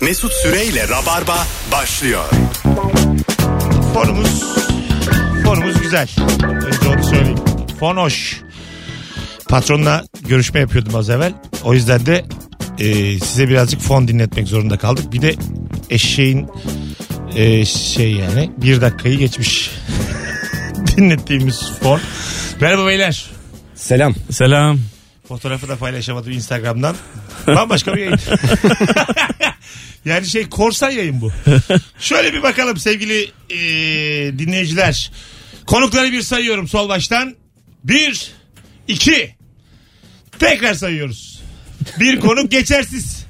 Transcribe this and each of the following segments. Mesut Süreyle Rabarba başlıyor. Fonumuz fonumuz güzel. Önce onu söyleyeyim. Fon hoş. Patronla görüşme yapıyordum az evvel. O yüzden de e, size birazcık fon dinletmek zorunda kaldık. Bir de eşeğin e, şey yani bir dakikayı geçmiş dinlettiğimiz fon. Merhaba beyler. Selam. Selam. Fotoğrafı da paylaşamadım Instagram'dan. Bambaşka bir yayın. yani şey korsan yayın bu. Şöyle bir bakalım sevgili eee, dinleyiciler. Konukları bir sayıyorum sol baştan. Bir, iki. Tekrar sayıyoruz. Bir konuk geçersiz.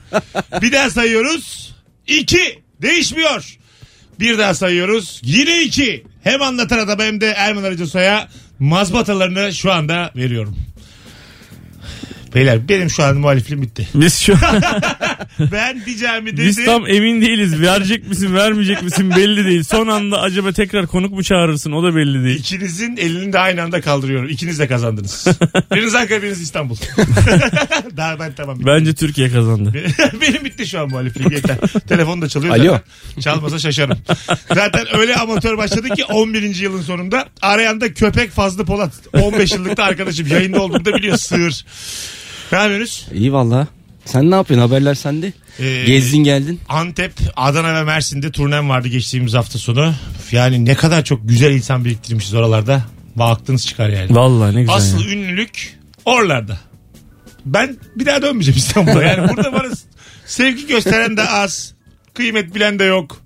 Bir daha sayıyoruz. İki. Değişmiyor. Bir daha sayıyoruz. Yine iki. Hem anlatan adama hem de Erman Arıcı Soy'a mazbatalarını şu anda veriyorum. Beyler benim şu an muhalifliğim bitti. Biz şu an Ben diyeceğimi dedi. biz tam emin değiliz. Verecek misin vermeyecek misin belli değil. Son anda acaba tekrar konuk mu çağırırsın o da belli değil. İkinizin elini de aynı anda kaldırıyorum. İkiniz de kazandınız. biriniz Ankara, biriniz İstanbul. Daha ben tamam. Bence Türkiye kazandı. Benim bitti şu an muhalifliğim yeter. Telefon da çalıyor Alo. zaten. Çalmasa şaşarım. Zaten öyle amatör başladı ki 11. yılın sonunda arayan da köpek Fazlı Polat. 15 yıllıkta arkadaşım. Yayında olduğunu da biliyor sığır. Ne yapıyorsunuz? İyi valla. Sen ne yapıyorsun? Haberler sende. Ee, Gezdin geldin. Antep, Adana ve Mersin'de turnem vardı geçtiğimiz hafta sonu. Yani ne kadar çok güzel insan biriktirmişiz oralarda. Bak aklınız çıkar yani. Vallahi ne güzel. Asıl ya. ünlülük oralarda. Ben bir daha dönmeyeceğim İstanbul'a. Yani burada varız. Sevgi gösteren de az. Kıymet bilen de yok.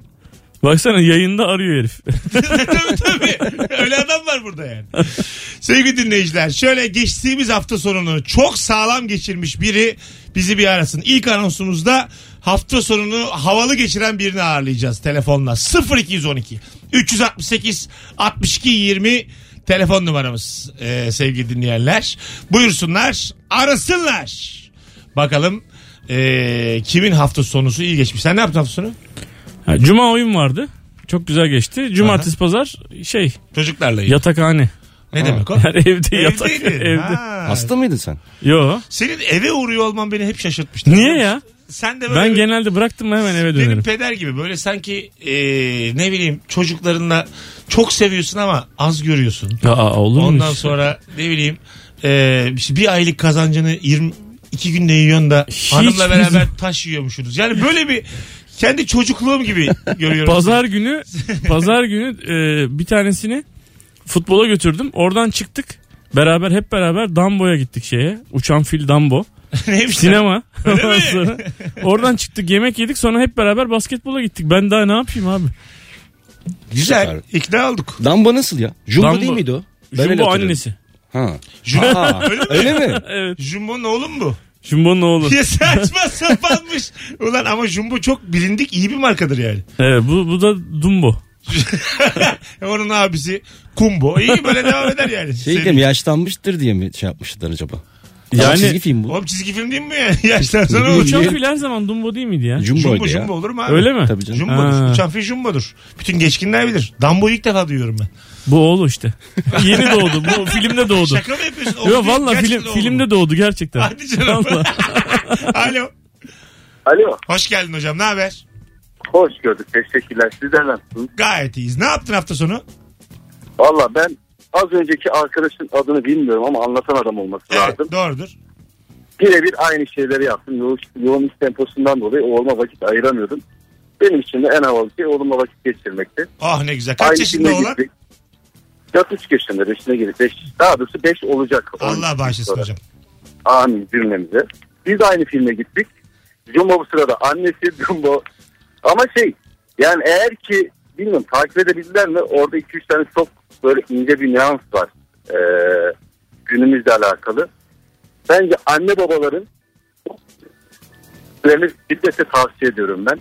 Baksana yayında arıyor herif. tabii tabii. Öyle adam var burada yani. Sevgili dinleyiciler şöyle geçtiğimiz hafta sonunu çok sağlam geçirmiş biri bizi bir arasın. İlk anonsumuzda hafta sonunu havalı geçiren birini ağırlayacağız telefonla. 0212 368 62 20 telefon numaramız ee, sevgili dinleyenler. Buyursunlar arasınlar. Bakalım ee, kimin hafta sonusu iyi geçmiş. Sen ne yaptın hafta sonu? Ha, Cuma oyun vardı. Çok güzel geçti. Cumartesi pazar şey Çocuklarla iyi. yatakhane. ne demek o? Yani evde yatak Evdeydin. evde. Ha. Hasta mıydın sen? Yo. Senin eve uğruyor olman beni hep şaşırtmıştı. Niye ya? Sen de böyle Ben bir- genelde bıraktım mı hemen eve benim dönerim. peder gibi böyle sanki e, ne bileyim çocuklarınla çok seviyorsun ama az görüyorsun. Aa olur mu? Ondan hiç? sonra ne bileyim e, işte bir aylık kazancını 20 iki günde yiyorsun da Hiç hanımla beraber bizim- taş yiyormuşsunuz. Yani böyle bir kendi çocukluğum gibi görüyorum. Pazar günü pazar günü e, bir tanesini futbola götürdüm. Oradan çıktık. Beraber hep beraber Dambo'ya gittik şeye. Uçan fil Dambo. Neymiş lan? Sinema. Öyle Ondan mi? sonra oradan çıktık yemek yedik sonra hep beraber basketbola gittik. Ben daha ne yapayım abi? Güzel. ikna olduk. Damba nasıl ya? Jumbo Dumbo. değil miydi o? Ben öyle Jumbo hatırlıyorum. annesi. Ha. Jumbo. Aa, Öyle mi? öyle mi? Evet. Jumbo'nun oğlu mu bu? Jumbo'nun oğlu. Ya saçma sapanmış. Ulan ama Jumbo çok bilindik iyi bir markadır yani. Evet bu, bu da Dumbo. Onun abisi Kumbo. İyi böyle devam eder yani. Şey Senin- diyeyim yaşlanmıştır diye mi şey yapmışlar acaba? Yani. Yani- Çizgi film bu. Oğlum çizgi film değil mi ya? Yaştan sonra olur. Uçan fil her zaman Dumbo değil miydi ya? Jumbo Jumbo'ydu ya. jumbo olur mu abi? Öyle mi? Tabii canım. Jumbo'dur. Ha. Uçan fil jumbo'dur. Bütün geçkinler bilir. Dambo'yu ilk defa duyuyorum ben. Bu oğlu işte. Yeni doğdu. Bu filmde doğdu. Şaka mı yapıyorsun? Oğlum Yok değil, valla gerçekten film, oğlum. filmde doğdu gerçekten. Hadi canım. Vallahi. Alo. Alo. Hoş geldin hocam. Ne haber? Hoş gördük. Teşekkürler. Sizler nasılsınız? Gayet iyiyiz. Ne yaptın hafta sonu? Valla ben az önceki arkadaşın adını bilmiyorum ama anlatan adam olması lazım. doğrudur. Birebir aynı şeyleri yaptım. Yoğun, yoğun iş temposundan dolayı oğluma vakit ayıramıyordum. Benim için de en havalı şey oğlumla vakit geçirmekti. Ah ne güzel. Kaç Aynı yaşında günde olan? gittik. Ya 3 yaşında 5'ine girip 5. Daha doğrusu 5 olacak. Allah 12 bağışlasın sonra. hocam. Amin cümlemize. Biz de aynı filme gittik. Jumbo bu sırada annesi Jumbo. Ama şey yani eğer ki bilmiyorum takip edebilirler mi orada 2-3 tane çok böyle ince bir nüans var. Ee, günümüzle alakalı. Bence anne babaların süremiz şiddetle tavsiye ediyorum ben.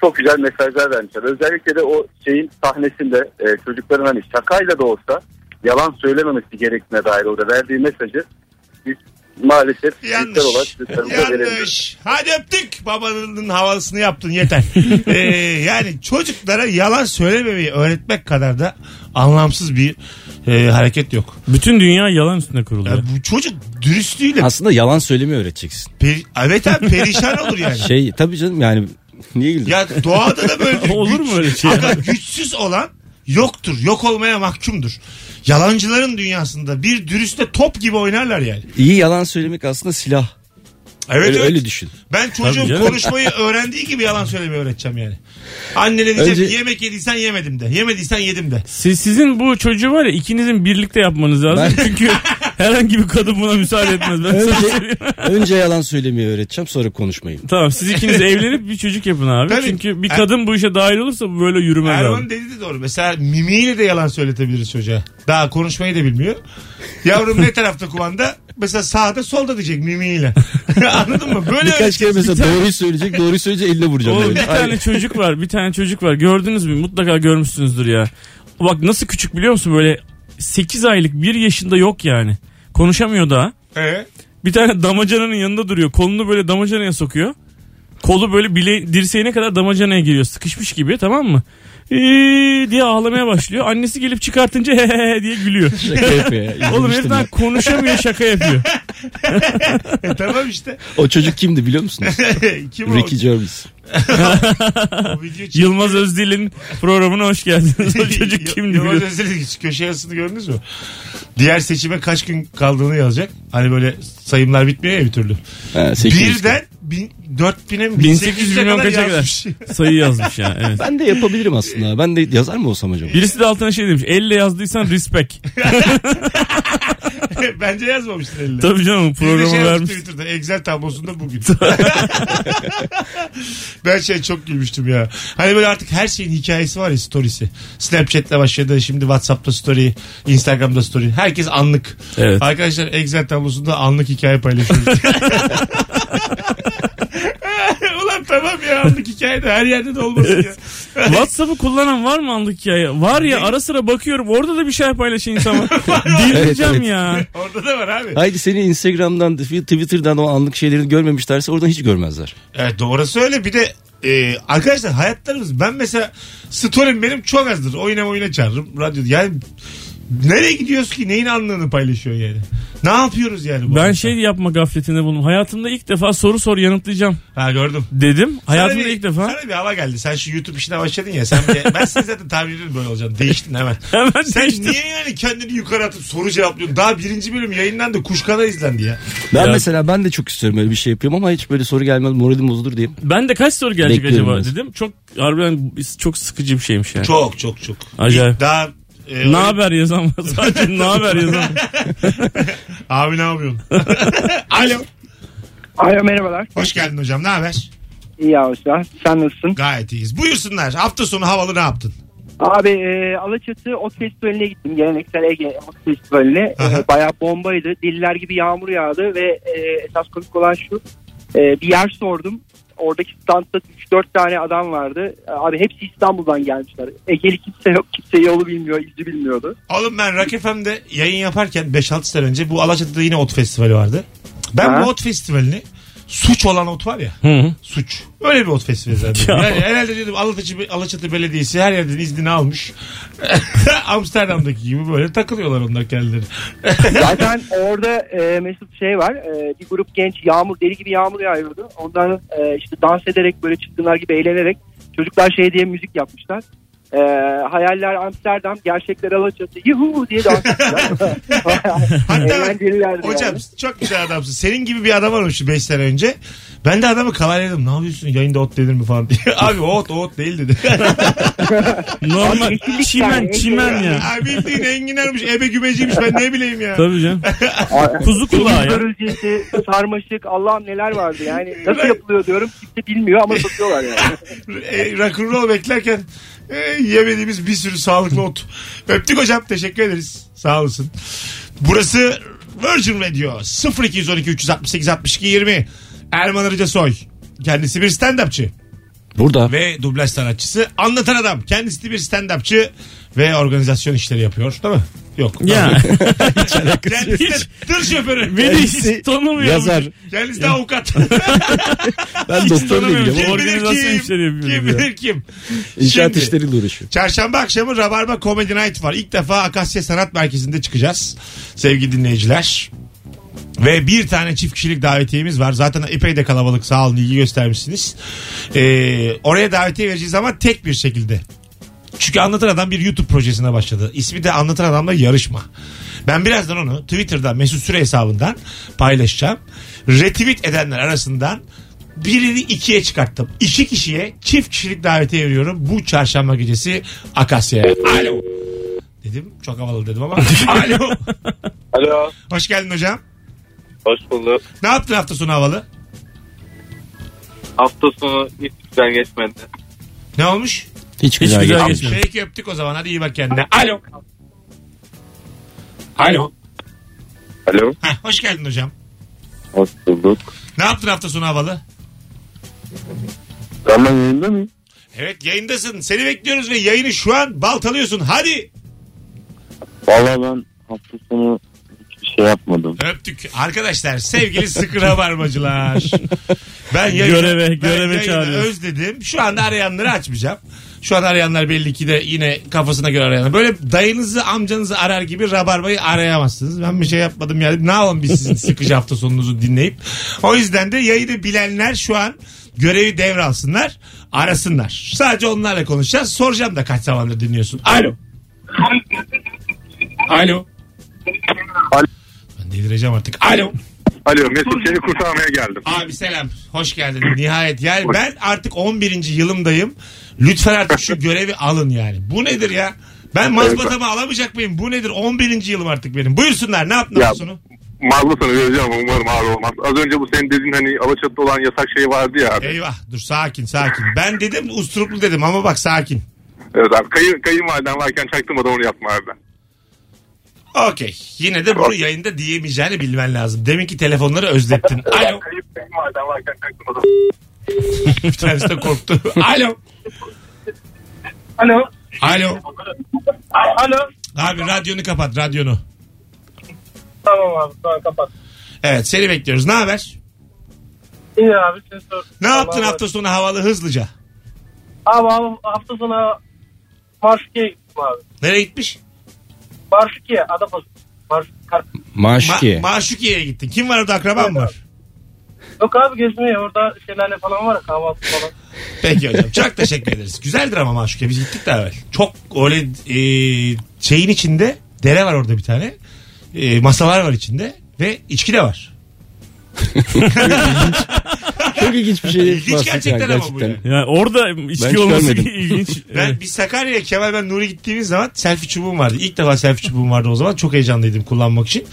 Çok güzel mesajlar vermişler. Özellikle de o şeyin sahnesinde e, çocukların hani şakayla da olsa yalan söylememesi gerektiğine dair orada verdiği mesajı biz maalesef Yanlış. bizler olarak çocuklarımıza veremiyoruz. Yanlış. Hadi öptük. Babanın havasını yaptın yeter. ee, yani çocuklara yalan söylememeyi öğretmek kadar da anlamsız bir e, hareket yok. Bütün dünya yalan üstüne kuruluyor. Ya bu çocuk dürüstlüğüyle Aslında yalan söylemeyi öğreteceksin. peri- evet abi perişan olur yani. Şey tabii canım yani Niye güldün? Ya doğada da böyle bir Olur güç- mu öyle şey? Aga, güçsüz olan yoktur. Yok olmaya mahkumdur. Yalancıların dünyasında bir dürüstle top gibi oynarlar yani. İyi yalan söylemek aslında silah. Evet öyle, evet. öyle düşün. Ben çocuğum Tabii canım. konuşmayı öğrendiği gibi yalan söylemeyi öğreteceğim yani. Annene diyecek Önce- ki, yemek yediysen yemedim de. Yemediysen yedim de. Siz, sizin bu çocuğu var ya ikinizin birlikte yapmanız lazım. Çünkü herhangi bir kadın buna müsaade etmez. Ben sana Önce, söyleyeyim. önce yalan söylemeyi öğreteceğim sonra konuşmayı. Tamam siz ikiniz evlenip bir çocuk yapın abi. Tabii. Er- Çünkü bir kadın bu işe dahil olursa bu böyle yürümez abi. Erman dedi de doğru. Mesela mimiğiyle de yalan söyletebiliriz çocuğa. Daha konuşmayı da bilmiyor. Yavrum ne tarafta kumanda? Mesela sağda solda diyecek mimiğiyle. Anladın mı? Böyle Birkaç kere öğreteceksin. mesela doğruyu söyleyecek doğruyu söyleyince eline vuracağım. Oğlum evet. bir tane çocuk var bir tane çocuk var gördünüz mü mutlaka görmüşsünüzdür ya. Bak nasıl küçük biliyor musun böyle 8 aylık 1 yaşında yok yani. Konuşamıyor daha. Ee, Bir tane damacananın yanında duruyor. Kolunu böyle damacanaya sokuyor. Kolu böyle bile dirseğine kadar damacanaya giriyor. Sıkışmış gibi tamam mı? Ee, diye ağlamaya başlıyor. Annesi gelip çıkartınca he he he diye gülüyor. Şaka yapıyor ya. Oğlum İzlemiştim herifler ya. konuşamıyor şaka yapıyor. e, tamam işte. O çocuk kimdi biliyor musunuz? Kim o? Ricky Gervais. O video çek- Yılmaz Özdil'in programına hoş geldiniz. O çocuk kimdi Yılmaz biliyor Özdil'in hiç köşe yazısını gördünüz mü? Diğer seçime kaç gün kaldığını yazacak. Hani böyle sayımlar bitmiyor ya bir türlü. Ha, sekiz yüz. Birden bin, 4000'e mi 1800 1800'e milyon kadar kaça yazmış. kadar sayı yazmış yani. Evet. Ben de yapabilirim aslında. Ben de yazar mı olsam acaba? Birisi de altına şey demiş. Elle yazdıysan respect. Bence yazmamıştır eline. Tabii canım Bir de programı şey yapmış vermiş. Twitter'da Excel tablosunda bugün. ben şey çok gülmüştüm ya. Hani böyle artık her şeyin hikayesi var ya storiesi. Snapchat'le başladı şimdi Whatsapp'ta story, Instagram'da story. Herkes anlık. Evet. Arkadaşlar Excel tablosunda anlık hikaye paylaşıyoruz. Ulan tamam ya anlık hikaye de her yerde de olmasın ya. WhatsApp'ı kullanan var mı anlık hikaye? Var ya ara sıra bakıyorum orada da bir şey paylaşan insan var. Delireceğim Evet, evet. ya. Orada da var abi. Haydi seni Instagram'dan, Twitter'dan o anlık şeyleri görmemişlerse oradan hiç görmezler. Evet doğrusu öyle E, bir de e, arkadaşlar hayatlarımız ben mesela story'm benim çok azdır. Oyuna oyuna çağırırım radyo yani nereye gidiyoruz ki neyin anlığını paylaşıyor yani. Ne yapıyoruz yani bu? Ben arada? şey yapma gafletinde bulundum. Hayatımda ilk defa soru soru yanıtlayacağım ha gördüm. dedim. Hayatımda Sana bir- ilk defa. Sana bir hava geldi. Sen şu YouTube işine başladın ya. Sen bir- ben seni zaten tahmin ediyorum böyle olacaksın. Değiştin hemen. Hemen Sen değiştim. niye yani kendini yukarı atıp soru cevaplıyorsun? Daha birinci bölüm yayınlandı. Kuşkana izlendi ya. Ben Ya- mesela ben de çok istiyorum öyle bir şey yapıyorum ama hiç böyle soru gelmez moralim bozulur diyeyim. Ben de kaç soru gelecek Bekliyorum acaba biraz. dedim. Çok harbiden çok sıkıcı bir şeymiş yani. Çok çok çok. Acayip. Daha e, Ne haber yazan var sadece ne haber yazan var. Abi ne yapıyorsun? Alo. Alo merhabalar. Hoş geldin hocam. Ne haber? İyi avcılar. Sen nasılsın? Gayet iyiyiz. Buyursunlar. Hafta sonu havalı ne yaptın? Abi e, Alaçatı Ot Festivali'ne gittim. Geleneksel Ege Ot Festivali'ne. Aha. E, bayağı bombaydı. Diller gibi yağmur yağdı ve e, esas komik olan şu. E, bir yer sordum. Oradaki standta 3-4 tane adam vardı. E, Abi hepsi İstanbul'dan gelmişler. Ege'li kimse yok. Kimse yolu bilmiyor. izi bilmiyordu. Oğlum ben Rock FM'de yayın yaparken 5-6 sene önce bu Alaçatı'da yine ot festivali vardı. Ben Ha. bu ot festivalini suç olan ot var ya. Hı. Suç. Öyle bir ot festivali zaten. Ya. Yani herhalde dedim Alaçatı, Alaçatı Belediyesi her yerden iznini almış. Amsterdam'daki gibi böyle takılıyorlar onlar kendileri. Zaten orada e, Mesut şey var. e, bir grup genç yağmur deli gibi yağmur yağıyordu. Ondan e, işte dans ederek böyle çıktınlar gibi eğlenerek çocuklar şey diye müzik yapmışlar. E, hayaller Amsterdam, gerçekler Alaçatı. Yuhu diye dans ettiler. Hatta bak, Eğlencelilerdi hocam yani. çok güzel adamsın. Senin gibi bir adam varmış 5 sene önce. Ben de adamı kavaladım. Ne yapıyorsun yayında ot denir mi falan diye. Abi o ot o ot değil dedi. Normal yeşillik çimen yani, çimen yeşillik. ya. Abi bildiğin enginarmış, ebe gümeciymiş ben ne bileyim ya. Tabii canım. Kuzu kulağı ya. Görülcesi, sarmaşık, Allah'ım neler vardı yani. Nasıl yapılıyor diyorum. Kimse bilmiyor ama satıyorlar yani. E, rock'n'roll beklerken e, yemediğimiz bir sürü sağlıklı ot. Öptük hocam teşekkür ederiz. Sağ olasın. Burası Virgin Radio 0212 368 62 20 Erman Arıca Soy. Kendisi bir stand-upçı Burada ve dublaj sanatçısı. Anlatan adam. Kendisi de bir stand-upçı ve organizasyon işleri yapıyor. Değil mi? Yok. Ya Kendisi de tır şoförü. beni Kendisi hiç tanımıyor. Şey, yazar. Kendisi de avukat. Ben doktor da tanımıyorum. değilim ama kim bilir Organizasyon işleri kim? yapıyoruz Kim ya. bilir kim? inşaat Şimdi- işleriyle uğraşıyor. Çarşamba akşamı Rabarba Comedy Night var. İlk defa Akasya Sanat Merkezi'nde çıkacağız. Sevgili dinleyiciler. Ve bir tane çift kişilik davetiyemiz var. Zaten epey de kalabalık sağ olun ilgi göstermişsiniz. Ee, oraya davetiye vereceğiz ama tek bir şekilde. Çünkü Anlatan Adam bir YouTube projesine başladı. İsmi de Anlatan Adam'la Yarışma. Ben birazdan onu Twitter'dan Mesut Süre hesabından paylaşacağım. Retweet edenler arasından birini ikiye çıkarttım. İki kişiye çift kişilik davetiye veriyorum. Bu çarşamba gecesi Akasya'ya. Alo. Dedim çok havalı dedim ama. Alo. Alo. Hoş geldin hocam. Hoş bulduk. Ne yaptın hafta sonu havalı? Hafta sonu hiç güzel geçmedi. Ne olmuş? Hiç Hiç güzel, güzel geçmedi. geçmedi. Peki öptük o zaman. Hadi iyi bak kendine. Alo. Alo. Alo. Heh, hoş geldin hocam. Hoş bulduk. Ne yaptın hafta sonu havalı? Ama yayında mıyım? Evet yayındasın. Seni bekliyoruz ve yayını şu an baltalıyorsun. Hadi Valla ben hafta sonu hiçbir şey yapmadım. öptük. Arkadaşlar sevgili sıkı rabarbacılar. Ben yayını, Göreve, ben göreve yayını çağırıyoruz. özledim. Şu anda arayanları açmayacağım. Şu an arayanlar belli ki de yine kafasına göre arayanlar. Böyle dayınızı amcanızı arar gibi rabarbayı arayamazsınız. Ben bir şey yapmadım yani. Ne yapalım biz sizin sıkıcı hafta sonunuzu dinleyip. O yüzden de yayını bilenler şu an görevi devralsınlar. Arasınlar. Sadece onlarla konuşacağız. Soracağım da kaç zamandır dinliyorsun. Alo. Alo. Alo. Ben delireceğim artık. Alo. Alo Mesut seni kurtarmaya geldim. Abi selam. Hoş geldin. Nihayet yani ben artık 11. yılımdayım. Lütfen artık şu görevi alın yani. Bu nedir ya? Ben mazbatamı alamayacak mıyım? Bu nedir? 11. yılım artık benim. Buyursunlar. Ne yaptın Ya. hafta sonu? Mallı sana vereceğim ama umarım ağır olmaz. Az önce bu senin dediğin hani Alaçatı'da olan yasak şey vardı ya abi. Eyvah. Dur sakin sakin. Ben dedim usturuplu dedim ama bak sakin. Evet abi kayın, kayınvaliden varken çaktırmadan onu yapma abi. Okey. Yine de bunu yayında diyemeyeceğini bilmen lazım. Deminki telefonları özlettin. Alo. Kayınvaliden varken çaktırmadan. Bir tanesi de korktu. Alo. Alo. Alo. Alo. Abi radyonu kapat radyonu. Tamam abi sonra kapat. Evet seni bekliyoruz. Ne haber? İyi abi sen sor. Ne yaptın hafta sonu havalı hızlıca? Abi, abi hafta sonu Marşuki'ye gittim abi. Nereye gitmiş? Marşuki'ye Adapazarı. Marşuki. Kar- Maşki. Ma- Maşukiye'ye gittin. Kim var orada akraban mı var? Yok abi gezmeye orada şelale falan var ya, kahvaltı falan. Peki hocam çok teşekkür ederiz. Güzeldir ama Maşukiye biz gittik daha evvel. Çok öyle e, şeyin içinde dere var orada bir tane. E, masalar var içinde ve içki de var. Çok ilginç bir şey. İlginç bahsettin gerçekten ama bu yani. Yani orada içki Ben hiç olması görmedim. ilginç. Ben Evet. biz Sakarya'ya Kemal ben Nuri gittiğimiz zaman selfie çubuğum vardı. İlk defa selfie çubuğum vardı o zaman. Çok heyecanlıydım kullanmak için.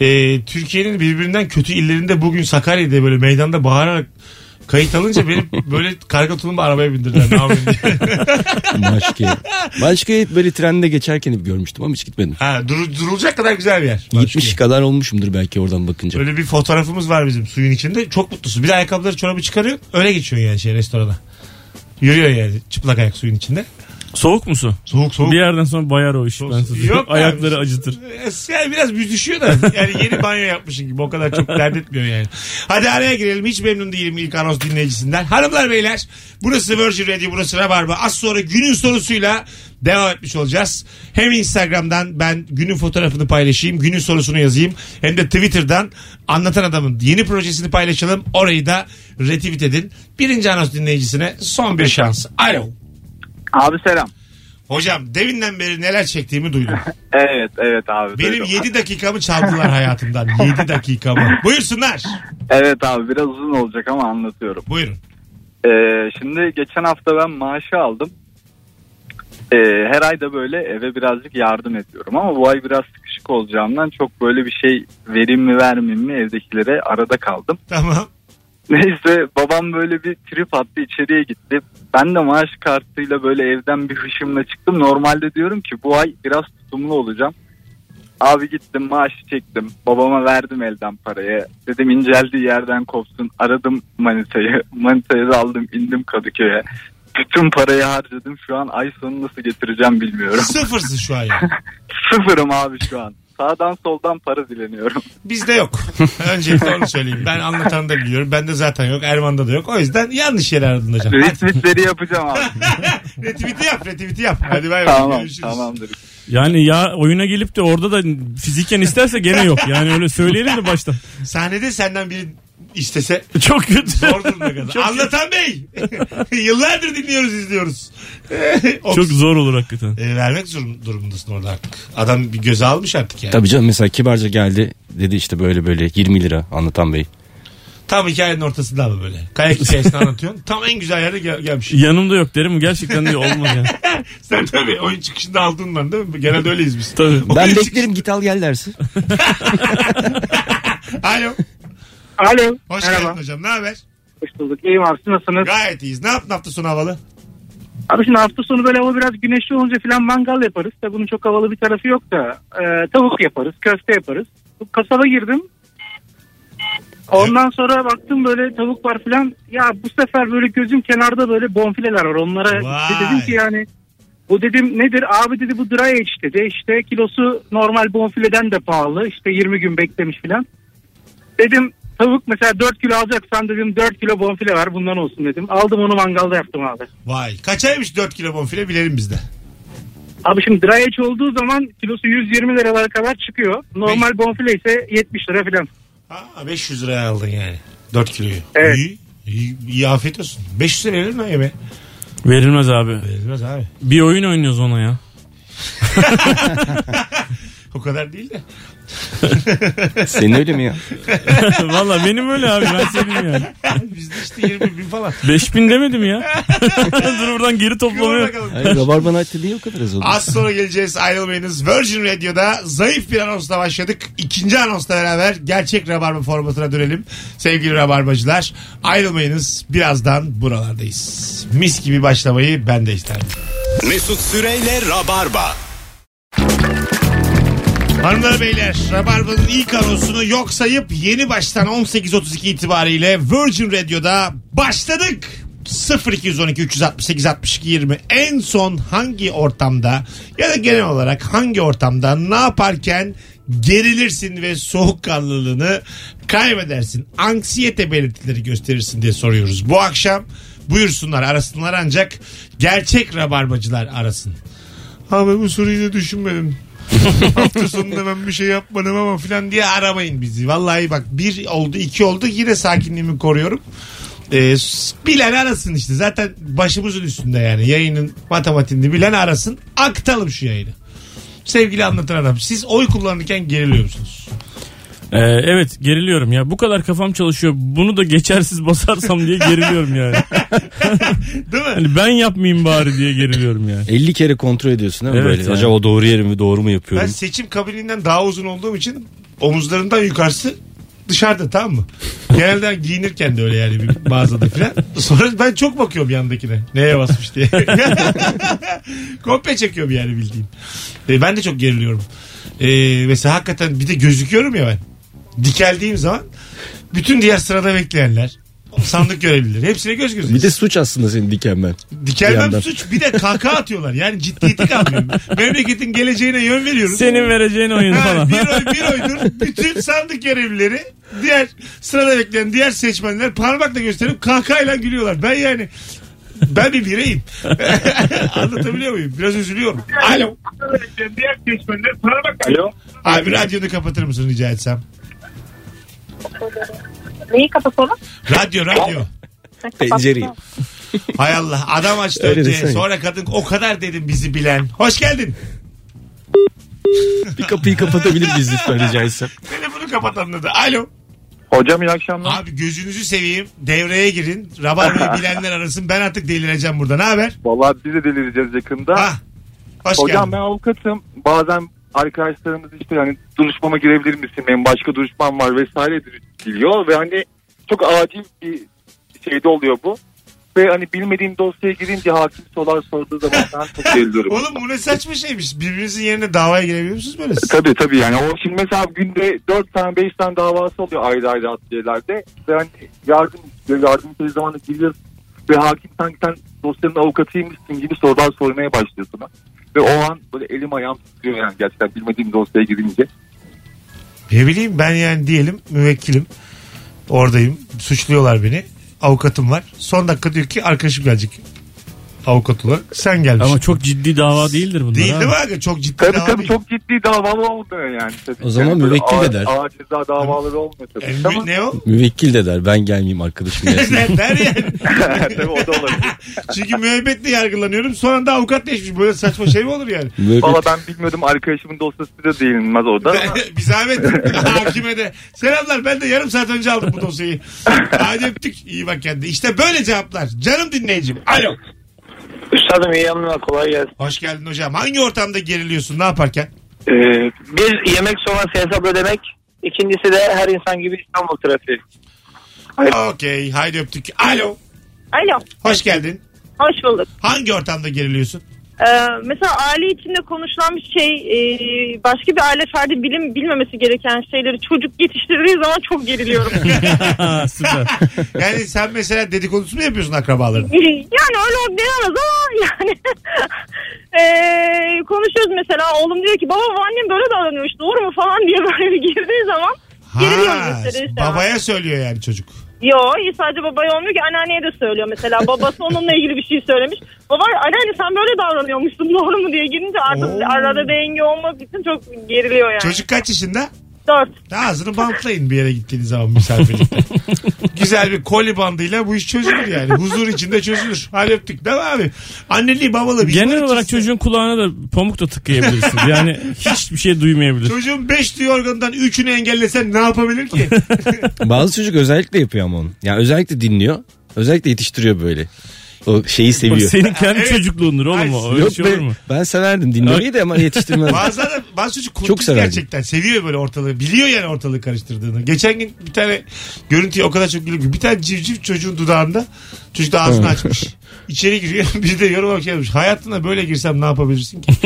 Ee, Türkiye'nin birbirinden kötü illerinde bugün Sakarya'da böyle meydanda bağırarak kayıt alınca benim böyle karga tulumba arabaya bindirdiler. Ne yapayım diye. Maşki. Maşki'yi böyle trende geçerken hep görmüştüm ama hiç gitmedim. Ha, dur- durulacak kadar güzel bir yer. Gitmiş kadar olmuşumdur belki oradan bakınca. Öyle bir fotoğrafımız var bizim suyun içinde. Çok mutlusun. Bir de ayakkabıları çorabı çıkarıyor. Öyle geçiyor yani şey restorana. Yürüyor yani çıplak ayak suyun içinde. Soğuk musun? Soğuk soğuk. Bir yerden sonra bayar o iş. Soğuk. Ben size- Yok abi. Ayakları acıtır. Yani biraz büzüşüyor da yani yeni banyo yapmışsın gibi o kadar çok dert etmiyor yani. Hadi araya girelim hiç memnun değilim ilk anons dinleyicisinden. Hanımlar beyler burası Virgin Radio burası Rabarba. Az sonra günün sorusuyla devam etmiş olacağız. Hem Instagram'dan ben günün fotoğrafını paylaşayım günün sorusunu yazayım. Hem de Twitter'dan anlatan adamın yeni projesini paylaşalım. Orayı da retweet edin. Birinci anons dinleyicisine son bir şans. Alo. Abi selam. Hocam devinden beri neler çektiğimi duydum. Evet evet abi. Benim duydum. 7 dakikamı çaldılar hayatımdan. 7 dakikamı. Buyursunlar. Evet abi biraz uzun olacak ama anlatıyorum. Buyurun. Ee, şimdi geçen hafta ben maaşı aldım. Ee, her ayda böyle eve birazcık yardım ediyorum ama bu ay biraz sıkışık olacağımdan çok böyle bir şey vereyim mi vermeyeyim mi evdekilere arada kaldım. Tamam. Neyse babam böyle bir trip attı içeriye gitti. Ben de maaş kartıyla böyle evden bir hışımla çıktım. Normalde diyorum ki bu ay biraz tutumlu olacağım. Abi gittim maaşı çektim. Babama verdim elden parayı. Dedim inceldiği yerden kopsun. Aradım manitayı. Manitayı da aldım indim Kadıköy'e. Bütün parayı harcadım. Şu an ay sonu nasıl getireceğim bilmiyorum. Sıfırsın şu an yani. Sıfırım abi şu an. Sağdan soldan para dileniyorum. Bizde yok. Öncelikle onu söyleyeyim. Ben anlatan da biliyorum. Bende zaten yok. Erman'da da yok. O yüzden yanlış yere aradın hocam. Hadi. Retweetleri yapacağım abi. Retweet'i yap retweet'i yap. Hadi bay bay. Tamam görüşürüz. tamamdır. Yani ya oyuna gelip de orada da fiziken isterse gene yok. Yani öyle söyleyelim de baştan. Sahnede senden biri istese Çok kötü. zor durumda kadar. Anlatan Bey. Yıllardır dinliyoruz izliyoruz. Çok zor olur hakikaten. E, vermek zorun- durumundasın orada artık. Adam bir göze almış artık yani. Tabii canım mesela kibarca geldi dedi işte böyle böyle 20 lira anlatan bey. Tam hikayenin ortasında ama böyle. Kayak hikayesini anlatıyorsun. Tam en güzel yerde gel- gelmiş. Yanımda yok derim gerçekten de olmaz yani. Sen tabii oyun çıkışında aldın lan değil mi? Genelde öyleyiz biz. Tabii. Ben Oyun beklerim git al gel dersin. çıkış- Alo. Alo. Hoş geldin hocam. Ne haber? Hoş bulduk. İyiyim abi. Siz nasılsınız? Gayet iyiyiz. Ne yaptın hafta sonu havalı? Abi şimdi hafta sonu böyle hava biraz güneşli olunca falan mangal yaparız. Tabii bunun çok havalı bir tarafı yok da. e, tavuk yaparız, köfte yaparız. Bu Kasaba girdim. Ondan sonra baktım böyle tavuk var falan. Ya bu sefer böyle gözüm kenarda böyle bonfileler var. Onlara Vay. dedim ki yani bu dedim nedir? Abi dedi bu dry age dedi. İşte kilosu normal bonfileden de pahalı. İşte 20 gün beklemiş falan. Dedim tavuk mesela 4 kilo alacaksan dedim 4 kilo bonfile var bundan olsun dedim. Aldım onu mangalda yaptım abi. Vay. Kaçaymış 4 kilo bonfile bilelim biz de. Abi şimdi dry age olduğu zaman kilosu 120 liralara kadar çıkıyor. Normal bonfile ise 70 lira falan. Ha, 500 liraya aldın yani. 4 kiloyu. Evet. İyi. İyi, iyi afiyet olsun. 500 lira verir mi lan yemeğe? Verilmez abi. Verilmez abi. Bir oyun oynuyoruz ona ya. O kadar değil de. Senin öyle mi ya? Valla benim öyle abi ben senin yani. Bizde işte 20 bin falan. 5000 demedim ya. Dur buradan geri toplamaya. Bakalım. Hayır, Rabarbanı açtı niye o kadar az oldu? Az sonra geleceğiz ayrılmayınız. Virgin Radio'da zayıf bir anonsla başladık. İkinci anonsla beraber gerçek rabarba formatına dönelim. Sevgili rabarbacılar ayrılmayınız. Birazdan buralardayız. Mis gibi başlamayı ben de isterim. Mesut Süreyle Rabarba. Hanımlar beyler Rabarba'nın ilk anonsunu yok sayıp yeni baştan 18.32 itibariyle Virgin Radio'da başladık. 0212 368 62 20 en son hangi ortamda ya da genel olarak hangi ortamda ne yaparken gerilirsin ve soğukkanlılığını kaybedersin. Anksiyete belirtileri gösterirsin diye soruyoruz. Bu akşam buyursunlar arasınlar ancak gerçek rabarbacılar arasın. Abi bu soruyu da düşünmedim. Hafta sonunda ben bir şey yapmadım ama filan diye aramayın bizi. Vallahi bak bir oldu iki oldu yine sakinliğimi koruyorum. Ee, s- bilen arasın işte zaten başımızın üstünde yani yayının matematiğini bilen arasın aktalım şu yayını. Sevgili anlatan adam siz oy kullanırken geriliyor musunuz? Ee, evet geriliyorum ya. Bu kadar kafam çalışıyor. Bunu da geçersiz basarsam diye geriliyorum yani. Değil mi? Hani ben yapmayayım bari diye geriliyorum yani. 50 kere kontrol ediyorsun değil mi Evet böyle? yani. Acaba doğru yeri mi doğru mu Ben yapıyorum? seçim kabininden daha uzun olduğum için omuzlarından yukarısı dışarıda tamam mı? Genelde giyinirken de öyle yani bir mağazada filan. Sonra ben çok bakıyorum yandakine. Neye basmış diye. Komple çekiyorum yani bildiğin. E, ben de çok geriliyorum. E, mesela hakikaten bir de gözüküyorum ya ben. Dikeldiğim zaman bütün diğer sırada bekleyenler sandık görevlileri. Hepsine göz göz. Bir de suç aslında senin dikenmen. Bir Dikelmem yandan. suç bir de kaka atıyorlar. Yani ciddiyeti kalmıyor. Memleketin geleceğine yön veriyoruz. Senin vereceğin oyun Ha, falan. bir oy bir oydur. Bütün sandık görevlileri diğer sırada bekleyen diğer seçmenler parmakla gösterip kahkahayla gülüyorlar. Ben yani ben bir bireyim. Anlatabiliyor muyum? Biraz üzülüyorum. Alo. Diğer seçmenler parmakla Alo. Abi radyonu kapatır mısın rica etsem? Neyi kapatalım? Radyo radyo. Pencereyi. Hay Allah adam açtı Öyle önce desene. sonra kadın o kadar dedim bizi bilen. Hoş geldin. Bir kapıyı kapatabilir miyiz lütfen rica etsem? Telefonu kapatalım dedi. Alo. Hocam iyi akşamlar. Abi gözünüzü seveyim. Devreye girin. Rabarbayı bilenler arasın. Ben artık delireceğim burada. Ne haber? Vallahi biz de delireceğiz yakında. Ha. Ah, Hoş Hocam ben geldin. avukatım. Bazen arkadaşlarımız işte hani duruşmama girebilir misin? Benim başka duruşmam var vesaire biliyor ve hani çok acil bir şeyde oluyor bu. Ve hani bilmediğim dosyaya girince hakim sorular sorduğu zaman ben çok deliriyorum. Oğlum bu ne saçma şeymiş. Birbirinizin yerine davaya girebiliyor musunuz böyle? E, Tabii tabii yani o şimdi mesela günde 4 tane 5 tane davası oluyor ayrı ayrı adliyelerde. Ve hani yardım yardım istediği zaman da giriyorsun ve hakim sanki sen dosyanın avukatıymışsın gibi sorular sormaya başlıyorsun. Ve o an böyle elim ayağım tutuyor yani gerçekten bilmediğim dosyaya girince. Ne bileyim ben yani diyelim müvekkilim. Oradayım. Suçluyorlar beni. Avukatım var. Son dakika diyor ki arkadaşım gelecek. avukat olarak. Sen gelmişsin. Ama çok ciddi dava değildir bunlar. değil ha. değil mi aga? Çok ciddi Tabii dava tabii değil. çok ciddi davalı olmuyor yani. Tabii. O zaman Yani böyle müvekkil ağır- eder. Ağır ceza davaları olmuyor tabii. E, Ama- ne o? Müvekkil de der ben gelmeyeyim arkadaşım gelsin. Ne der yani. tabii o da olabilir. Çünkü müebbetle yargılanıyorum. Sonra da avukat değişmiş. Böyle saçma şey mi olur yani? Müvekkil- Valla ben bilmiyordum arkadaşımın dosyası da değinilmez orada. bir zahmet hakime de. Selamlar ben de yarım saat önce aldım bu dosyayı. Hadi öptük. İyi bak kendine. İşte böyle cevaplar. Canım dinleyicim. Alo. Üstadım iyi yayınlar kolay gelsin. Hoş geldin hocam. Hangi ortamda geriliyorsun ne yaparken? Ee, bir yemek sonrası hesap ödemek. İkincisi de her insan gibi İstanbul trafiği. Okey. Haydi öptük. Alo. Alo, Hoş geldin. hoş bulduk. Hangi ortamda geriliyorsun? Ee, mesela aile içinde konuşulan bir şey, e, başka bir aile ferdi bilim bilmemesi gereken şeyleri çocuk yetiştirdiği zaman çok geriliyorum. Ha, süper. Yani sen mesela dedikodusunu mu yapıyorsun akrabaların? yani öyle diyemez ama yani e, konuşuyoruz mesela oğlum diyor ki baba bu annem böyle davranıyor işte doğru mu falan diye böyle bir girdiği zaman geriliyorum ister istemez. babaya söylüyor yani çocuk. Yo iyi sadece babaya olmuyor ki anneanneye de söylüyor mesela babası onunla ilgili bir şey söylemiş. Baba anneanne sen böyle davranıyormuşsun doğru mu diye girince artık Oo. arada denge olmak için çok geriliyor yani. Çocuk kaç yaşında? Dört. Ağzını bantlayın bir yere gittiğiniz zaman misafirlikte. Güzel bir koli bandıyla bu iş çözülür yani. Huzur içinde çözülür. Hadi öptük değil mi abi? Anneliği babalı bir Genel olarak çocuğun kulağına da pamuk da tıkayabilirsin. Yani hiçbir şey duymayabilir. Çocuğun 5 duyu organından 3'ünü engellesen ne yapabilir ki? Bazı çocuk özellikle yapıyor ama onu. Yani özellikle dinliyor. Özellikle yetiştiriyor böyle. O şeyi Bak, seviyor. senin kendi Evet. çocukluğundur oğlum o. Öyle Yok şey be, olur mu? ben severdim dinlemeyi de ama yetiştirmez. Bazı adam, bazı çocuk Çok kurnaz severdim. gerçekten. Seviyor böyle ortalığı. Biliyor yani ortalığı karıştırdığını. Geçen gün bir tane görüntüye o kadar çok güldüm ki. Bir tane civciv çocuğun dudağında. Çocuk da ağzını açmış. İçeri giriyor. Bir de yorum olarak şey yapmış. Hayatına böyle girsem ne yapabilirsin ki?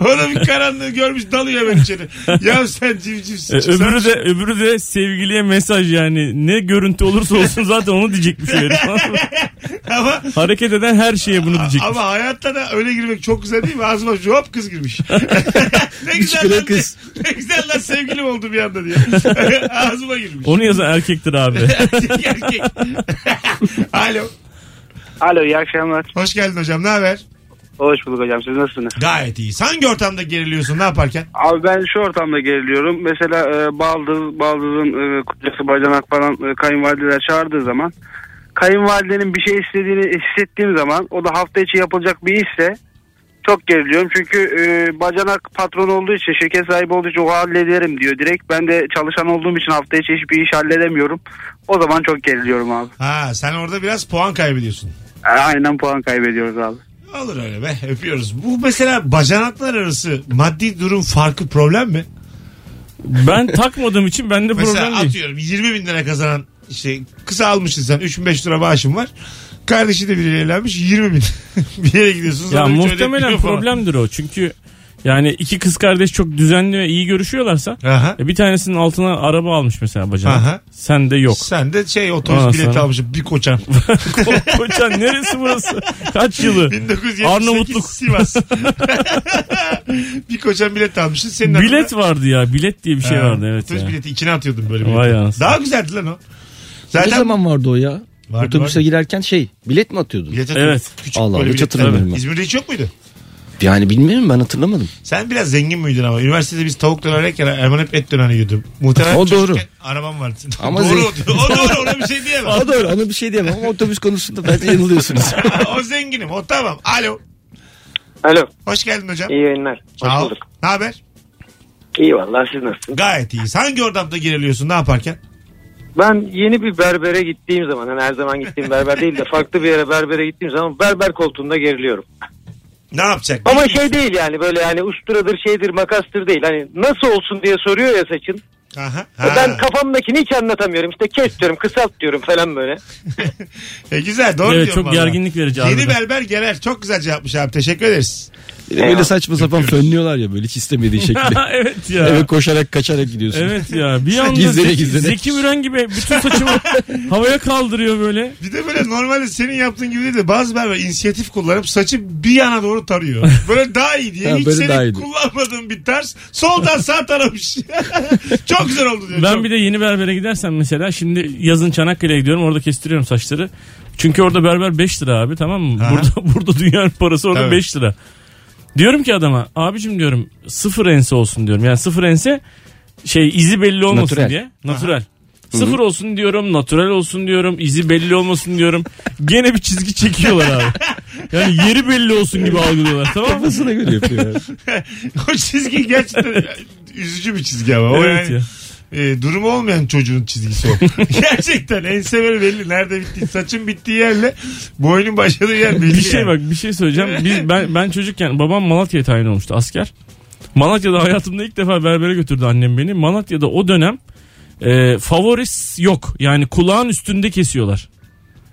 Orada bir karanlığı görmüş dalıyor hemen içeri. Ya sen E, civcivsin. öbürü de öbürü de sevgiliye mesaj yani ne görüntü olursa olsun zaten onu diyecekmiş herif. Ama Hareket eden her şeye bunu diyecekmiş. Ama hayatta da öyle girmek çok güzel değil mi? Ağzıma hop kız girmiş. ne güzel kere lan, kız. Ne güzel lan sevgilim oldu bir anda diye. Ağzıma girmiş. Onu yazan erkektir abi. Erkek, erkek. Alo. Alo iyi akşamlar. Hoş geldin hocam. Ne haber? Hoş bulduk hocam siz nasılsınız? Gayet iyi. Hangi ortamda geriliyorsun ne yaparken? Abi ben şu ortamda geriliyorum. Mesela e, baldız, baldızın e, kucası bacanak falan e, kayınvalideler çağırdığı zaman kayınvalidenin bir şey istediğini hissettiğim zaman o da hafta içi yapılacak bir işse çok geriliyorum. Çünkü e, bacanak patron olduğu için şirket sahibi olduğu için o hallederim diyor direkt. Ben de çalışan olduğum için hafta içi hiçbir iş halledemiyorum. O zaman çok geriliyorum abi. Ha sen orada biraz puan kaybediyorsun. E, Aynen puan kaybediyoruz abi. Olur öyle be öpüyoruz. Bu mesela bacanaklar arası maddi durum farkı problem mi? Ben takmadığım için bende Mesela problem değil. atıyorum 20 bin lira kazanan işte kısa almışsın sen 3500 lira maaşın var. Kardeşi de biriyle evlenmiş 20 bin. bir yere gidiyorsunuz. Ya adam hiç muhtemelen ödemiyor falan. problemdir o. Çünkü yani iki kız kardeş çok düzenli ve iyi görüşüyorlarsa Aha. e, bir tanesinin altına araba almış mesela Aha. bacanak. Sen de yok. Sen de şey otobüs Aa, bileti sana. almışsın bir koçan. Ko- Koçan neresi burası? Kaç yılı? 1978 Arnavutluk. Sivas. bir koçan bilet almışsın. Senin Bilet vardı ya. Bilet diye bir şey vardı evet Otobüs ya. bileti içine atıyordun böyle. Vay bileti. anasını. Daha güzeldi lan o. ne Zaten zaman vardı o ya? Vardı, Otobüse vardı. girerken şey bilet mi atıyordun? bilet atıyordun. Evet. Küçük Allah, böyle hiç bilet. hatırlamıyorum Tabii. ben. İzmir'de hiç yok muydu? Yani bilmiyorum ben hatırlamadım. Sen biraz zengin miydin ama? Üniversitede biz tavuk dönerken Erman hep et döneri yiyordu. Muhtemelen O çocukken doğru. Arabam vardı. senin. Ama doğru, zengin- o doğru ona bir şey diyemem. O doğru ona bir şey diyemem ama otobüs konusunda bence yanılıyorsunuz. o zenginim o tamam. Alo. Alo Hoş geldin hocam. iyi yayınlar. Sağ ol. Ne haber? İyi vallahi siz nasılsınız? Gayet iyiyiz. Hangi ortamda geriliyorsun ne yaparken? Ben yeni bir berbere gittiğim zaman hani her zaman gittiğim berber değil de farklı bir yere berbere gittiğim zaman berber koltuğunda geriliyorum. Ne yapacak? Ama şey değil yani böyle yani usturadır şeydir makastır değil. Hani nasıl olsun diye soruyor ya saçın. e Aha. Ha. Ben kafamdakini hiç anlatamıyorum. İşte kes diyorum kısalt diyorum falan böyle. E güzel doğru Evet diyorsun çok valla. gerginlik verici Yeni harbiden. berber gerer. Çok güzel cevapmış abi. Teşekkür ederiz. böyle saçma sapan fönlüyorlar ya böyle hiç istemediğin şekilde. evet ya. Eve koşarak kaçarak gidiyorsun. Evet ya bir anda Gizlene, Zeki, gizlene. Zeki Müren gibi bütün saçımı havaya kaldırıyor böyle. Bir de böyle normalde senin yaptığın gibi değil de bazı berber inisiyatif kullanıp saçı bir yana doğru tarıyor. Böyle daha iyi diye. Ha, Hiç böyle senin daha iyi. kullanmadığın bir tarz. Soldan sağ taramış. Çok Çok güzel oldu diyor. Ben Çok- bir de yeni berbere gidersem mesela şimdi yazın Çanakkale'ye gidiyorum orada kestiriyorum saçları. Çünkü orada berber 5 lira abi tamam mı? Aha. Burada burada dünyanın parası orada Tabii. 5 lira. Diyorum ki adama abicim diyorum sıfır ense olsun diyorum. Yani sıfır ense şey izi belli olmasın Natürel. diye. Natural. Sıfır olsun diyorum, natural olsun diyorum, izi belli olmasın diyorum. Gene bir çizgi çekiyorlar abi. Yani yeri belli olsun gibi algılıyorlar tamam mı? Kafasına göre yapıyor. yani. o çizgi gerçekten üzücü bir çizgi ama. O Evet yani, ya. e, durumu olmayan çocuğun çizgisi o. gerçekten ense böyle belli. Nerede bittiği, saçın bittiği yerle boynun başladığı yer belli. Bir şey yani. bak bir şey söyleyeceğim. Biz, ben, ben çocukken babam Malatya'ya tayin olmuştu asker. Malatya'da hayatımda ilk defa berbere götürdü annem beni. Malatya'da o dönem e, favoris yok. Yani kulağın üstünde kesiyorlar.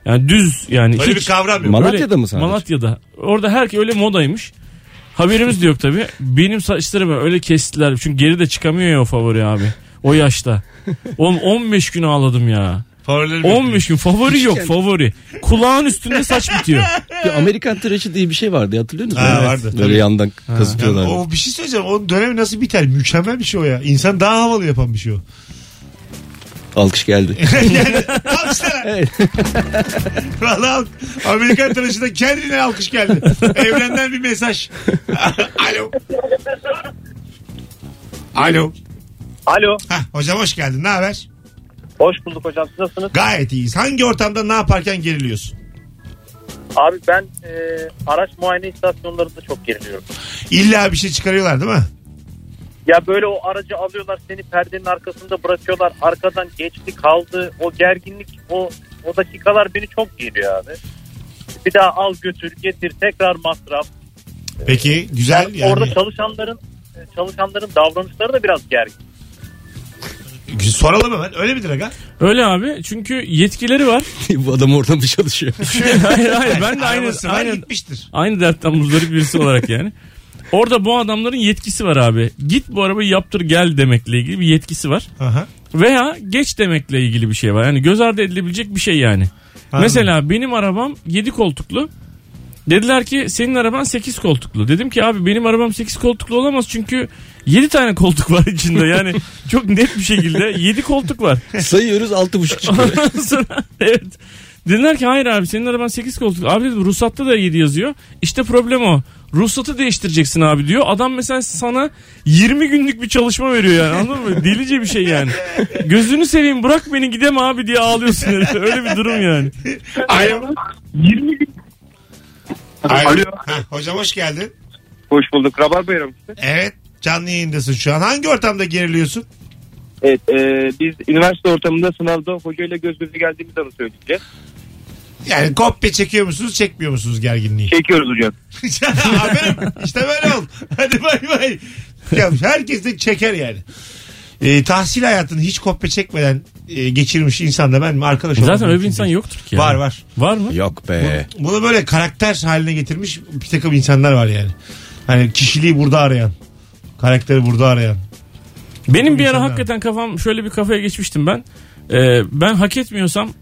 Yani düz yani. Böyle hiç- bir kavram yok. Ma- Malatya'da mı sadece? Malatya'da. Orada herkes öyle modaymış. Haberimiz de yok tabii. Benim saçlarımı öyle kestiler. Çünkü geri de çıkamıyor ya o favori abi. O yaşta. Oğlum 15 gün ağladım ya. Favorilerim yok. 15 gün favori yok favori. Kulağın üstünde saç bitiyor. Bir Amerikan tıraşı diye bir şey vardı hatırlıyor musun? Ha, vardı. Böyle yandan Yani kazıtıyorlar. o bir şey söyleyeceğim. O dönem nasıl biter? Mükemmel bir şey o ya. İnsan daha havalı yapan bir şey o. Alkış geldi. Alkışlar. Valla al- Amerikan tıraşında kendine alkış geldi. Evrenden bir mesaj. Alo. Alo. Alo. Hah, hocam hoş geldin. Ne haber? Hoş bulduk hocam. Siz nasılsınız? Gayet iyiyiz. Hangi ortamda ne yaparken geriliyorsun? Abi ben e, araç muayene istasyonlarında çok geriliyorum. İlla bir şey çıkarıyorlar değil mi? Ya böyle o aracı alıyorlar seni perdenin arkasında bırakıyorlar. Arkadan geçti kaldı. O gerginlik o o dakikalar beni çok geriyor abi. Bir daha al götür getir tekrar masraf. Peki güzel yani. Orada çalışanların çalışanların davranışları da biraz gergin. Soralım hemen. Öyle midir aga? Öyle abi çünkü yetkileri var. Bu adam orada mı çalışıyor? hayır hayır E, ben de aynı, Arabası var, aynı, gitmiştir. aynı dertten muzdarip birisi olarak yani. Orada bu adamların yetkisi var abi. Git bu arabayı yaptır gel demekle ilgili bir yetkisi var. Aha. Veya geç demekle ilgili bir şey var. Yani göz ardı edilebilecek bir şey yani. Anladım. Mesela benim arabam 7 koltuklu. Dediler ki senin araban 8 koltuklu. Dedim ki abi benim arabam 8 koltuklu olamaz çünkü 7 tane koltuk var içinde. Yani çok net bir şekilde 7 koltuk var. Sayıyoruz altı buçuk çıkıyor. Ondan sonra evet. Dediler ki hayır abi senin araban 8 koltuk. Abi dedim ruhsatta da 7 yazıyor. İşte problem o. Ruhsatı değiştireceksin abi diyor. Adam mesela sana 20 günlük bir çalışma veriyor yani anladın mı? Delice bir şey yani. Gözünü seveyim bırak beni gidem abi diye ağlıyorsun herif. Öyle bir durum yani. şey- Alo. 20 Alo. Alo. Ha, hocam hoş geldin. Hoş bulduk. Rabar bayram. Evet. Canlı yayındasın şu an. Hangi ortamda geriliyorsun? Evet e, biz üniversite ortamında sınavda hocayla göz göze geldiğimiz anı söyleyeceğiz. Yani kopya çekiyor musunuz çekmiyor musunuz gerginliği? Çekiyoruz hocam. Aferin işte böyle ol. Hadi bay bay. Ya herkes de çeker yani. Ee, tahsil hayatını hiç kopya çekmeden e, geçirmiş insan da ben mi arkadaş E, Zaten olmak öyle bir mümkün insan değil. yoktur ki. yani. Var var. Var mı? Yok be. Bunu böyle karakter haline getirmiş bir takım insanlar var yani. Hani kişiliği burada arayan. Karakteri burada arayan. Benim bir ara İnsanlar. hakikaten kafam şöyle bir kafaya geçmiştim ben. Ee, ben hak etmiyorsam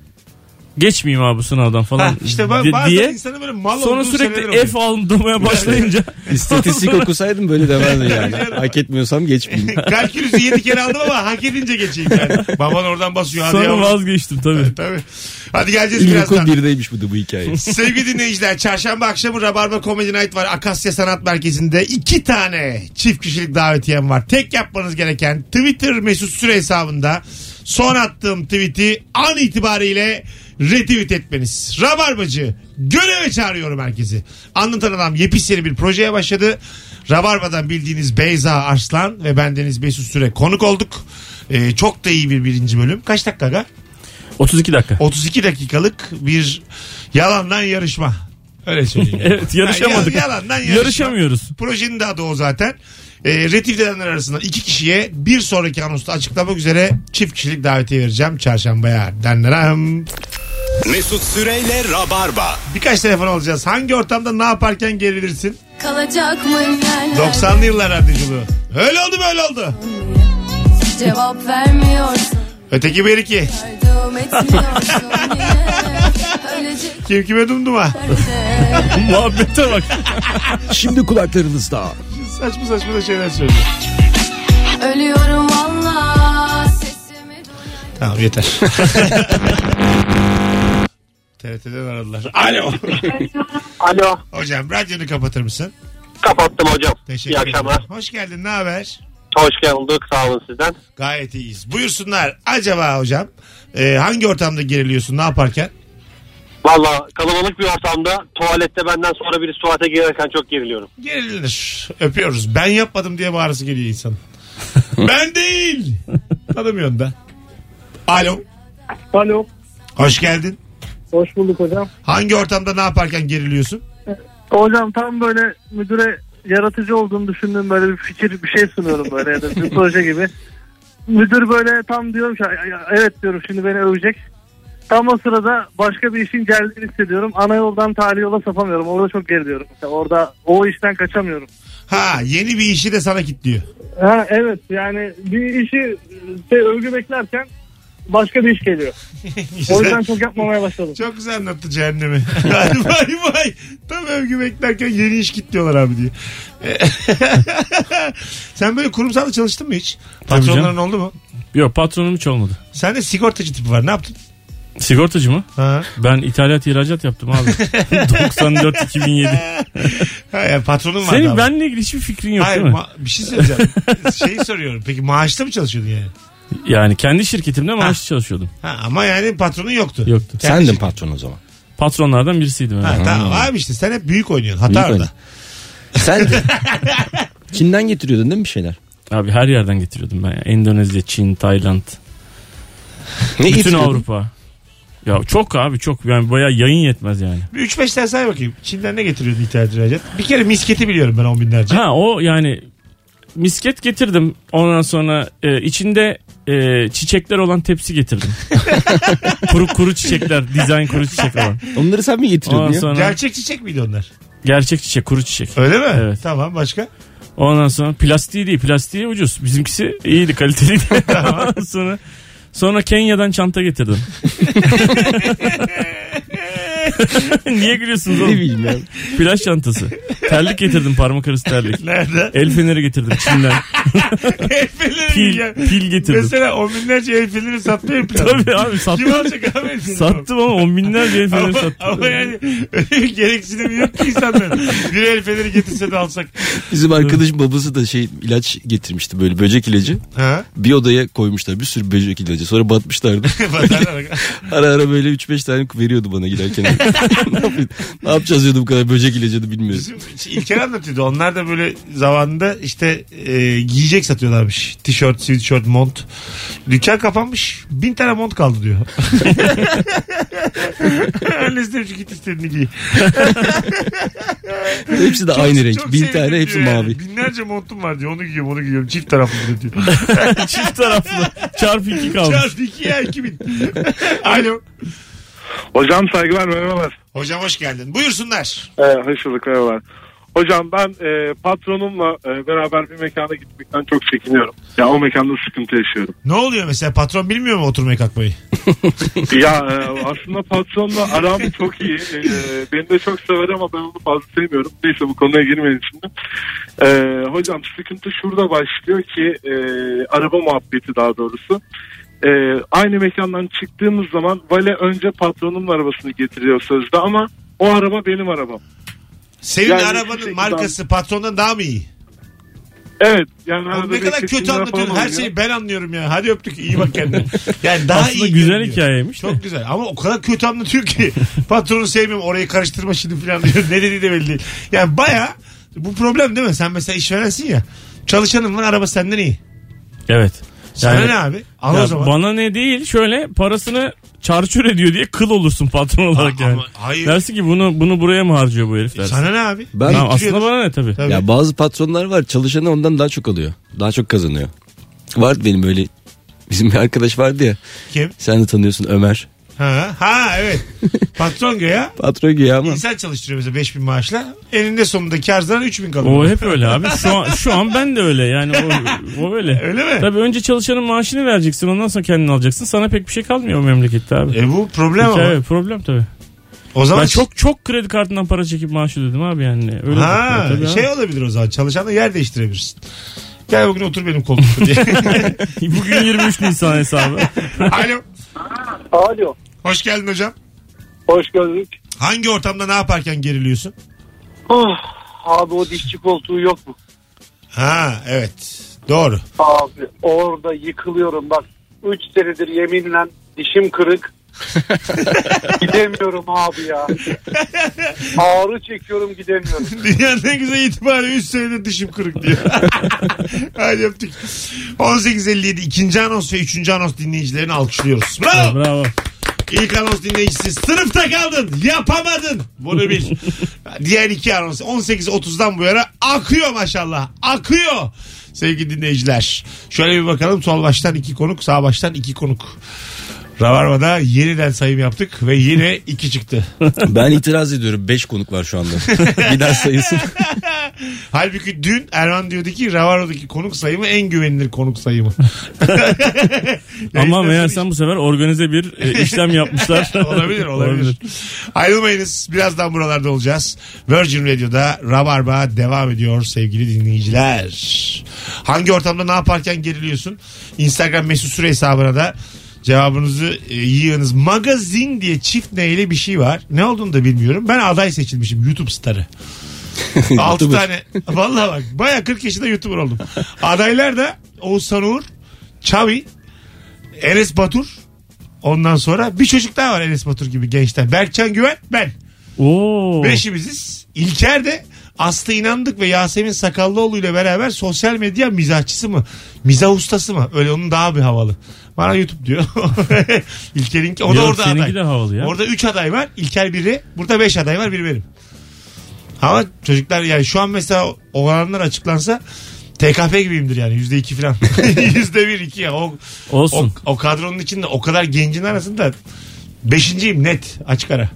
geçmeyeyim abi bu sınavdan falan Ha, Hani işte ba- di- bazen diye. insanın böyle mal Sonra olduğu seneler sürekli oluyor. F aldırmaya başlayınca. İstatistik okusaydım böyle demezdim yani. Hak etmiyorsam geçmeyeyim. Kalkülüsü 7 kere aldım ama hak edince geçeyim yani. Baban oradan basıyor. Hadi Sonra yavrum. vazgeçtim tabii. Tabii. Hadi geleceğiz İlkokul birazdan. birdeymiş bu da bu hikaye. Sevgili dinleyiciler çarşamba akşamı Rabarba Comedy Night var. Akasya Sanat Merkezi'nde iki tane çift kişilik davetiyem var. Tek yapmanız gereken Twitter mesut süre hesabında son attığım tweet'i an itibariyle retweet etmeniz. Rabarbacı göreve çağırıyorum herkesi. Anlatan adam yepyeni bir projeye başladı. Rabarba'dan bildiğiniz Beyza Arslan ve bendeniz Mesut Süre konuk olduk. Ee, çok da iyi bir birinci bölüm. Kaç dakika? aga? 32 dakika. 32 dakikalık bir yalandan yarışma. Öyle söyleyeyim. Evet yarışamadık. Ya- yalandan yarışma. Yarışamıyoruz. Projenin de adı o zaten. E, Retif edenler arasından iki kişiye bir sonraki anonsta açıklamak üzere çift kişilik davetiye vereceğim çarşambaya. Denlerim. Mesut Süreyle Rabarba. Birkaç telefon alacağız. Hangi ortamda ne yaparken gerilirsin? Kalacak mıyım yerlerde? 90'lı yıllar radyoculuğu. Öyle oldu böyle oldu. Cevap vermiyorsun Öteki bir iki. Yardım etmiyorsun yine Ölecek Kim kime dumduma. de Muhabbete bak. Şimdi kulaklarınızda. Saçma saçma da şeyler söylüyor. Ölüyorum valla Tamam yeter. TRT'den aradılar. Alo. Alo Hocam radyonu kapatır mısın? kapattım hocam. Teşekkür İyi akşamlar. ederim. Hoş geldin. Ne haber? Hoş bulduk sağ olun sizden. Gayet iyiyiz. Buyursunlar. Acaba hocam e, hangi ortamda geriliyorsun? Ne yaparken? Valla kalabalık bir ortamda tuvalette benden sonra biri tuvalete girerken çok geriliyorum. Gerilir. Öpüyoruz. Ben yapmadım diye bağırısı geliyor insan. ben değil. Tanımıyorsun da. Alo. Alo. Hoş geldin. Hoş bulduk hocam. Hangi ortamda ne yaparken geriliyorsun? Hocam tam böyle müdüre yaratıcı olduğunu düşündüğüm böyle bir fikir bir şey sunuyorum böyle ya da bir proje gibi. Müdür böyle tam diyorum ki "Ay, ay, evet diyorum şimdi beni övecek. Tam o sırada başka bir işin geldiğini hissediyorum. Ana yoldan tarihi yola sapamıyorum. Orada çok geriliyorum. İşte orada o işten kaçamıyorum. Ha yeni bir işi de sana kitliyor. Ha evet yani bir işi şey, övgü beklerken başka bir iş geliyor. O yüzden çok yapmamaya başladım. Çok güzel anlattı cehennemi. vay vay vay. Tam övgü beklerken yeni iş kitliyorlar abi diye. Sen böyle kurumsalda çalıştın mı hiç? Tabii Patronların canım. oldu mu? Yok patronum hiç olmadı. Sende sigortacı tipi var. Ne yaptın? Sigortacı mı? Ha. Ben ithalat ihracat yaptım abi. 94-2007. ha yani patronun vardı Senin ama. benle ilgili hiçbir fikrin yok Hayır değil mi? ma- bir şey söyleyeceğim. Şeyi soruyorum. Peki maaşla mı çalışıyordun yani? yani kendi şirketimde maaşlı çalışıyordum. Ha, ama yani patronun yoktu. Yoktu. Kendi- Sendin patron o zaman. Patronlardan birisiydim. Ha, Yani. tamam abi işte sen hep büyük oynuyorsun. Hata Büyük orada. oyun. Sen de. Çin'den getiriyordun değil mi bir şeyler? Abi her yerden getiriyordum ben. ya. Endonezya, Çin, Tayland. Ne Bütün getiriyordun? Avrupa. Ya çok abi çok. Yani bayağı yayın yetmez yani. Bir 3-5 tane say bakayım. Çin'den ne getiriyordun İhtiyacı Recep? Bir kere misketi biliyorum ben on binlerce. Ha o yani misket getirdim. Ondan sonra e, içinde e, çiçekler olan tepsi getirdim. kuru kuru çiçekler, dizayn kuru çiçek olan. Onları sen mi getiriyordun Ondan ya? sonra Gerçek çiçek miydi onlar? gerçek çiçek, kuru çiçek. Öyle mi? Evet. Tamam başka? Ondan sonra plastiği değil, plastiği ucuz. Bizimkisi iyiydi, kaliteliydi. Ondan sonra sonra Kenya'dan çanta getirdim. Niye gülüyorsunuz Ne oğlum? bileyim ya. Plaj çantası. Terlik getirdim, parmak arası terlik. Nerede? El feneri getirdim Çin'den. El fenerini Pil, ya. pil getirdim. Mesela on binlerce el feneri satmıyor plan. Tabii abi Kim sattım. alacak abi el feneri? Sattım ama on binlerce el Ama, feneri sattım. ama yani öyle bir gereksinim yok ki insanların. Bir el feneri getirse de alsak. Bizim arkadaş babası da şey ilaç getirmişti böyle böcek ilacı. Ha? Bir odaya koymuşlar bir sürü böcek ilacı. Sonra batmışlardı. Batarlar. Ara ara böyle 3-5 tane veriyordu bana giderken. ne, yapayım? ne yapacağız diyordu bu kadar böcek ilacını bilmiyorum. Bizim İlker anlatıyordu. Onlar da böyle zamanında işte e, giyecek satıyorlarmış. Tişört, sweatshirt, mont. Dükkan kapanmış. Bin tane mont kaldı diyor. Annesi demiş ki git istediğini giy. Hepsi de aynı renk. Çok Bin sevdim tane diyor hepsi yani. mavi. Binlerce montum var diyor. Onu giyiyorum onu giyiyorum. Çift taraflı bir de diyor. Çift taraflı. Çarpı iki kalmış. Çarpı iki ya iki bin. Alo. Hocam saygılar merhabalar. Hocam hoş geldin. Buyursunlar. Ee, hoş bulduk merhabalar. Hocam ben e, patronumla e, beraber bir mekana gitmekten çok çekiniyorum. Ya o mekanda sıkıntı yaşıyorum. Ne oluyor mesela patron bilmiyor mu oturmayı kalkmayı? ya e, aslında patronla aram çok iyi. E, beni de çok sever ama ben onu fazla sevmiyorum. Neyse bu konuya girmeyin şimdi. E, hocam sıkıntı şurada başlıyor ki e, araba muhabbeti daha doğrusu. E, aynı mekandan çıktığımız zaman vale önce patronun arabasını getiriyor sözde ama o araba benim arabam. Senin Yani arabanın şey- markası patrondan daha mı iyi? Evet. Yani Oğlum arada ne bir kadar kötü kesinler anlatıyorsun. falan Her oluyor. şeyi ben anlıyorum ya. Hadi öptük. iyi bak kendine. Yani daha Aslında iyi. güzel görünüyor. hikayeymiş de. Çok güzel. Ama o kadar kötü anlatıyor ki. Patronu sevmiyorum. Orayı karıştırma şimdi falan diyor. Ne dediği de belli değil. Yani baya bu problem değil mi? Sen mesela işverensin ya. Çalışanın var araba senden iyi. Evet. Sana Yani- ne abi? Al Ya o zaman. Bana ne değil şöyle parasını çarçur ediyor diye kıl olursun patron olarak Ama- yani. hayır. Dersin ki bunu bunu buraya mı harcıyor bu herif dersin. Sana ne abi? şey Ben- Tamam, aslında Getiriyoruz. bana ne tabii. Tabii. Ya bazı patronlar var çalışanı ondan daha çok alıyor. Daha çok kazanıyor. Var benim öyle bizim bir arkadaş vardı ya. Kim? Sen de tanıyorsun Ömer. Ha, ha evet. Patron ya. Patron güya ama. İnsan çalıştırıyor mesela 5000 maaşla. Eninde sonunda kar zarar 3000 kalıyor. O hep öyle abi. Şu an, şu an ben de öyle yani o, o öyle. Öyle mi? Tabii önce çalışanın maaşını vereceksin ondan sonra kendini alacaksın. Sana pek bir şey kalmıyor o memlekette abi. E bu problem Hikaye, ama. problem tabii. O zaman Ben çok çok kredi kartından para çekip maaş ödedim abi yani. Öyle Ha, tabii abi. şey olabilir o zaman. Çalışanı yer değiştirebilirsin. Gel bugün otur benim koltukta diye. şey- Bugün 23 Nisan hesabı. Alo. Alo. Hoş geldin hocam. Hoş gördük. Hangi ortamda ne yaparken geriliyorsun? Oh, Ah. abi o dişçi koltuğu yok mu? Ha evet. Doğru. Abi orada yıkılıyorum bak. 3 senedir yeminle dişim kırık. gidemiyorum abi ya. Ağrı çekiyorum gidemiyorum. Dünyanın en güzel itibarı 3 senedir dişim kırık diyor. Hadi öptük. 18.57 ikinci anons ve üçüncü anons dinleyicilerini alkışlıyoruz. Bravo. Bravo. İlk anons dinleyicisi sınıfta kaldın yapamadın bunu bil. Diğer iki anons 18.30'dan bu yana akıyor maşallah akıyor sevgili dinleyiciler. Şöyle bir bakalım sol baştan iki konuk sağ baştan iki konuk. Ravarva'da yeniden sayım yaptık ve yine iki çıktı. Ben itiraz ediyorum. 5 konuk var şu anda. Bir daha sayılsın. Halbuki dün Erman diyordu ki Ravarva'daki konuk sayımı en güvenilir konuk sayımı. Ama meğersem bu sefer organize bir e, işlem yapmışlar. olabilir olabilir. Ayrılmayınız. Birazdan buralarda olacağız. Virgin Radio'da Rabarba devam ediyor sevgili dinleyiciler. Hangi ortamda ne yaparken geriliyorsun? Instagram mesut süre hesabına da cevabınızı e, yığınız. Magazin diye çift neyle bir şey var. Ne olduğunu da bilmiyorum. Ben aday seçilmişim YouTube starı. 6 tane. Vallahi bak baya 40 yaşında YouTuber oldum. Adaylar da Oğuzhan Uğur, Çavi, Enes Batur. Ondan sonra bir çocuk daha var Enes Batur gibi gençten. Berkcan Güven ben. Oo. Beşimiziz. İlker de Aslı İnandık ve Yasemin Sakallıoğlu ile beraber sosyal medya mizahçısı mı? Mizah ustası mı? Öyle onun daha bir havalı. Bana YouTube diyor. İlker'inki. O da Yok, orada seninki aday. de havalı ya. Orada 3 aday var. İlker biri. Burada 5 aday var. Biri benim. Ama çocuklar yani şu an mesela o oranlar açıklansa TKP gibiyimdir yani. Yüzde iki falan. Yüzde bir iki ya. O, o, Olsun. o kadronun içinde o kadar gencin arasında beşinciyim net açık ara.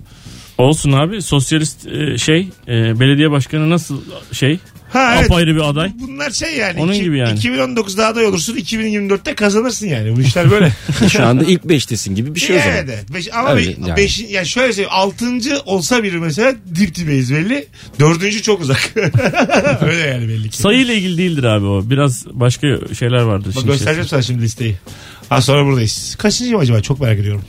Olsun abi. Sosyalist e, şey e, belediye başkanı nasıl şey? Ha, evet. Apayrı bir aday. Bunlar şey yani. Onun iki- gibi yani. 2019'da aday olursun 2024'te kazanırsın yani. Bu işler böyle. Şu anda ilk 5'tesin gibi bir şey o zaman. evet, evet. Beş- ama Öyle be- yani. beşin- yani şöyle söyleyeyim. Altıncı olsa biri mesela dip dibeyiz belli. Dördüncü çok uzak. Öyle yani belli ki. Sayıyla ilgili değildir abi o. Biraz başka şeyler vardır. şey Bak işin içerisinde. göstereceğim sana şimdi listeyi. Ha sonra buradayız. Kaçıncıyım acaba çok merak ediyorum.